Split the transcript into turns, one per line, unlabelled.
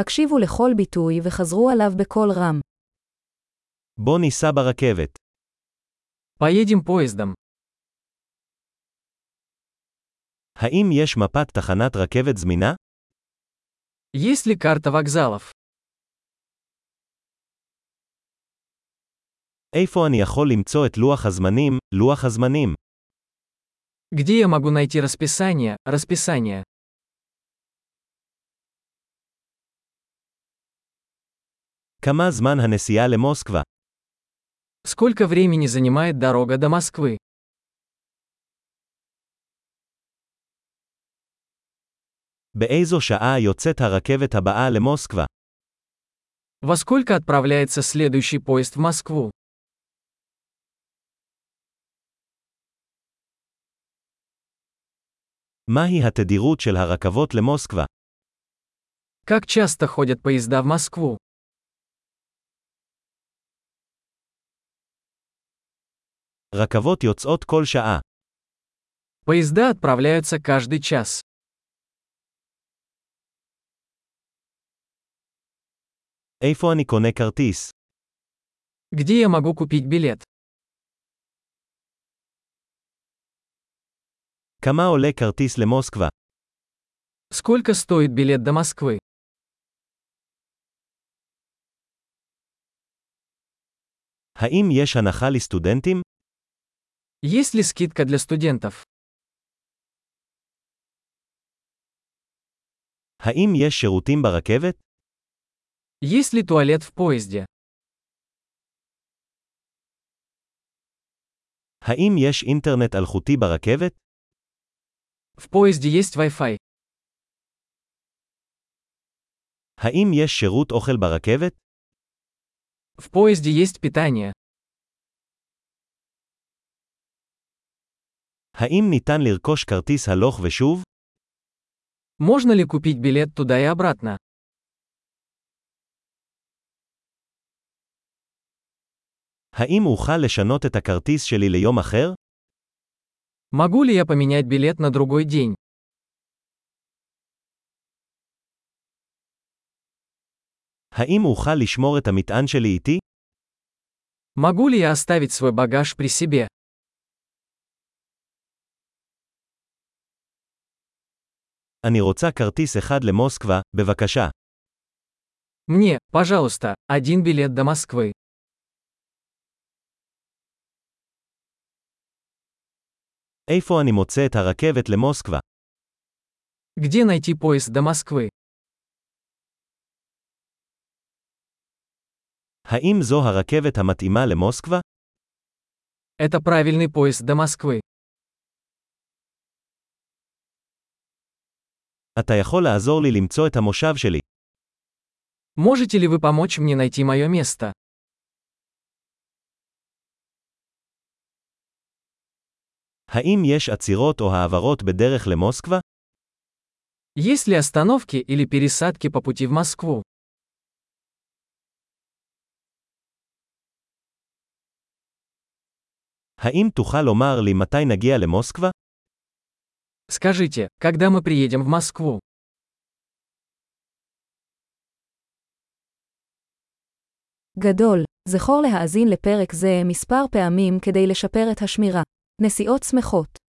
הקשיבו לכל ביטוי וחזרו עליו בקול רם.
בוא ניסע ברכבת.
Поедем поездом.
האם יש מפת תחנת רכבת זמינה?
Есть ли карта вокзалов?
איפה אני יכול למצוא את לוח הזמנים, לוח הזמנים?
Где я могу найти расписание, расписание?
כמה זמן הנסיעה למוסקבה?
Сколько времени занимает дорога до Москвы?
באיזו שעה יוצאת הרכבת הבאה למוסקבה?
Во сколько отправляется следующий поезд в Москву?
מהי התדירות של הרכבות למוסקבה?
Как часто ходят поезда в Москву?
רכבות יוצאות כל שעה.
Поезда отправляются каждый час.
איפה אני קונה כרטיס?
Где я могу купить билет?
כמה עולה כרטיס למוסקבה?
Сколько стоит билет до Москвы?
האם יש הנחה לסטודנטים?
Есть ли скидка для студентов?
האם יש שירותים ברכבת?
Есть ли туалет в поезде?
האם יש אינטרנט אלחוטי ברכבת?
В поезде есть Wi-Fi.
האם יש שירות אוכל ברכבת?
В поезде есть питание.
האם ניתן לרכוש כרטיס הלוך ושוב?
Можно ли купить билет туда и обратно?
האם אוכל לשנות את הכרטיס שלי ליום אחר?
Могу ли я поменять билет на другой день?
האם אוכל לשמור את המטען שלי איתי?
Могу ли я оставить свой багаж при себе?
אני רוצה כרטיס אחד למוסקבה, בבקשה.
Мне, пожалуйста, один билет до Москвы.
איפה אני מוצא את הרכבת למוסקבה?
Где найти поезд до Москвы?
האם זו הרכבת המתאימה למוסקבה?
Это правильный поезд до Москвы.
אתה יכול לעזור לי למצוא את המושב שלי.
Можете ли вы помочь мне найти мое место?
האם יש עצירות או העברות בדרך למוסקבה?
Есть ли остановки или пересадки по пути в Москву?
האם תוכל לומר לי מתי נגיע למוסקבה?
Скажите, когда мы приедем в Москву?
גדול, זכור להאזין לפרק זה מספר פעמים כדי לשפר את השמירה. נסיעות שמחות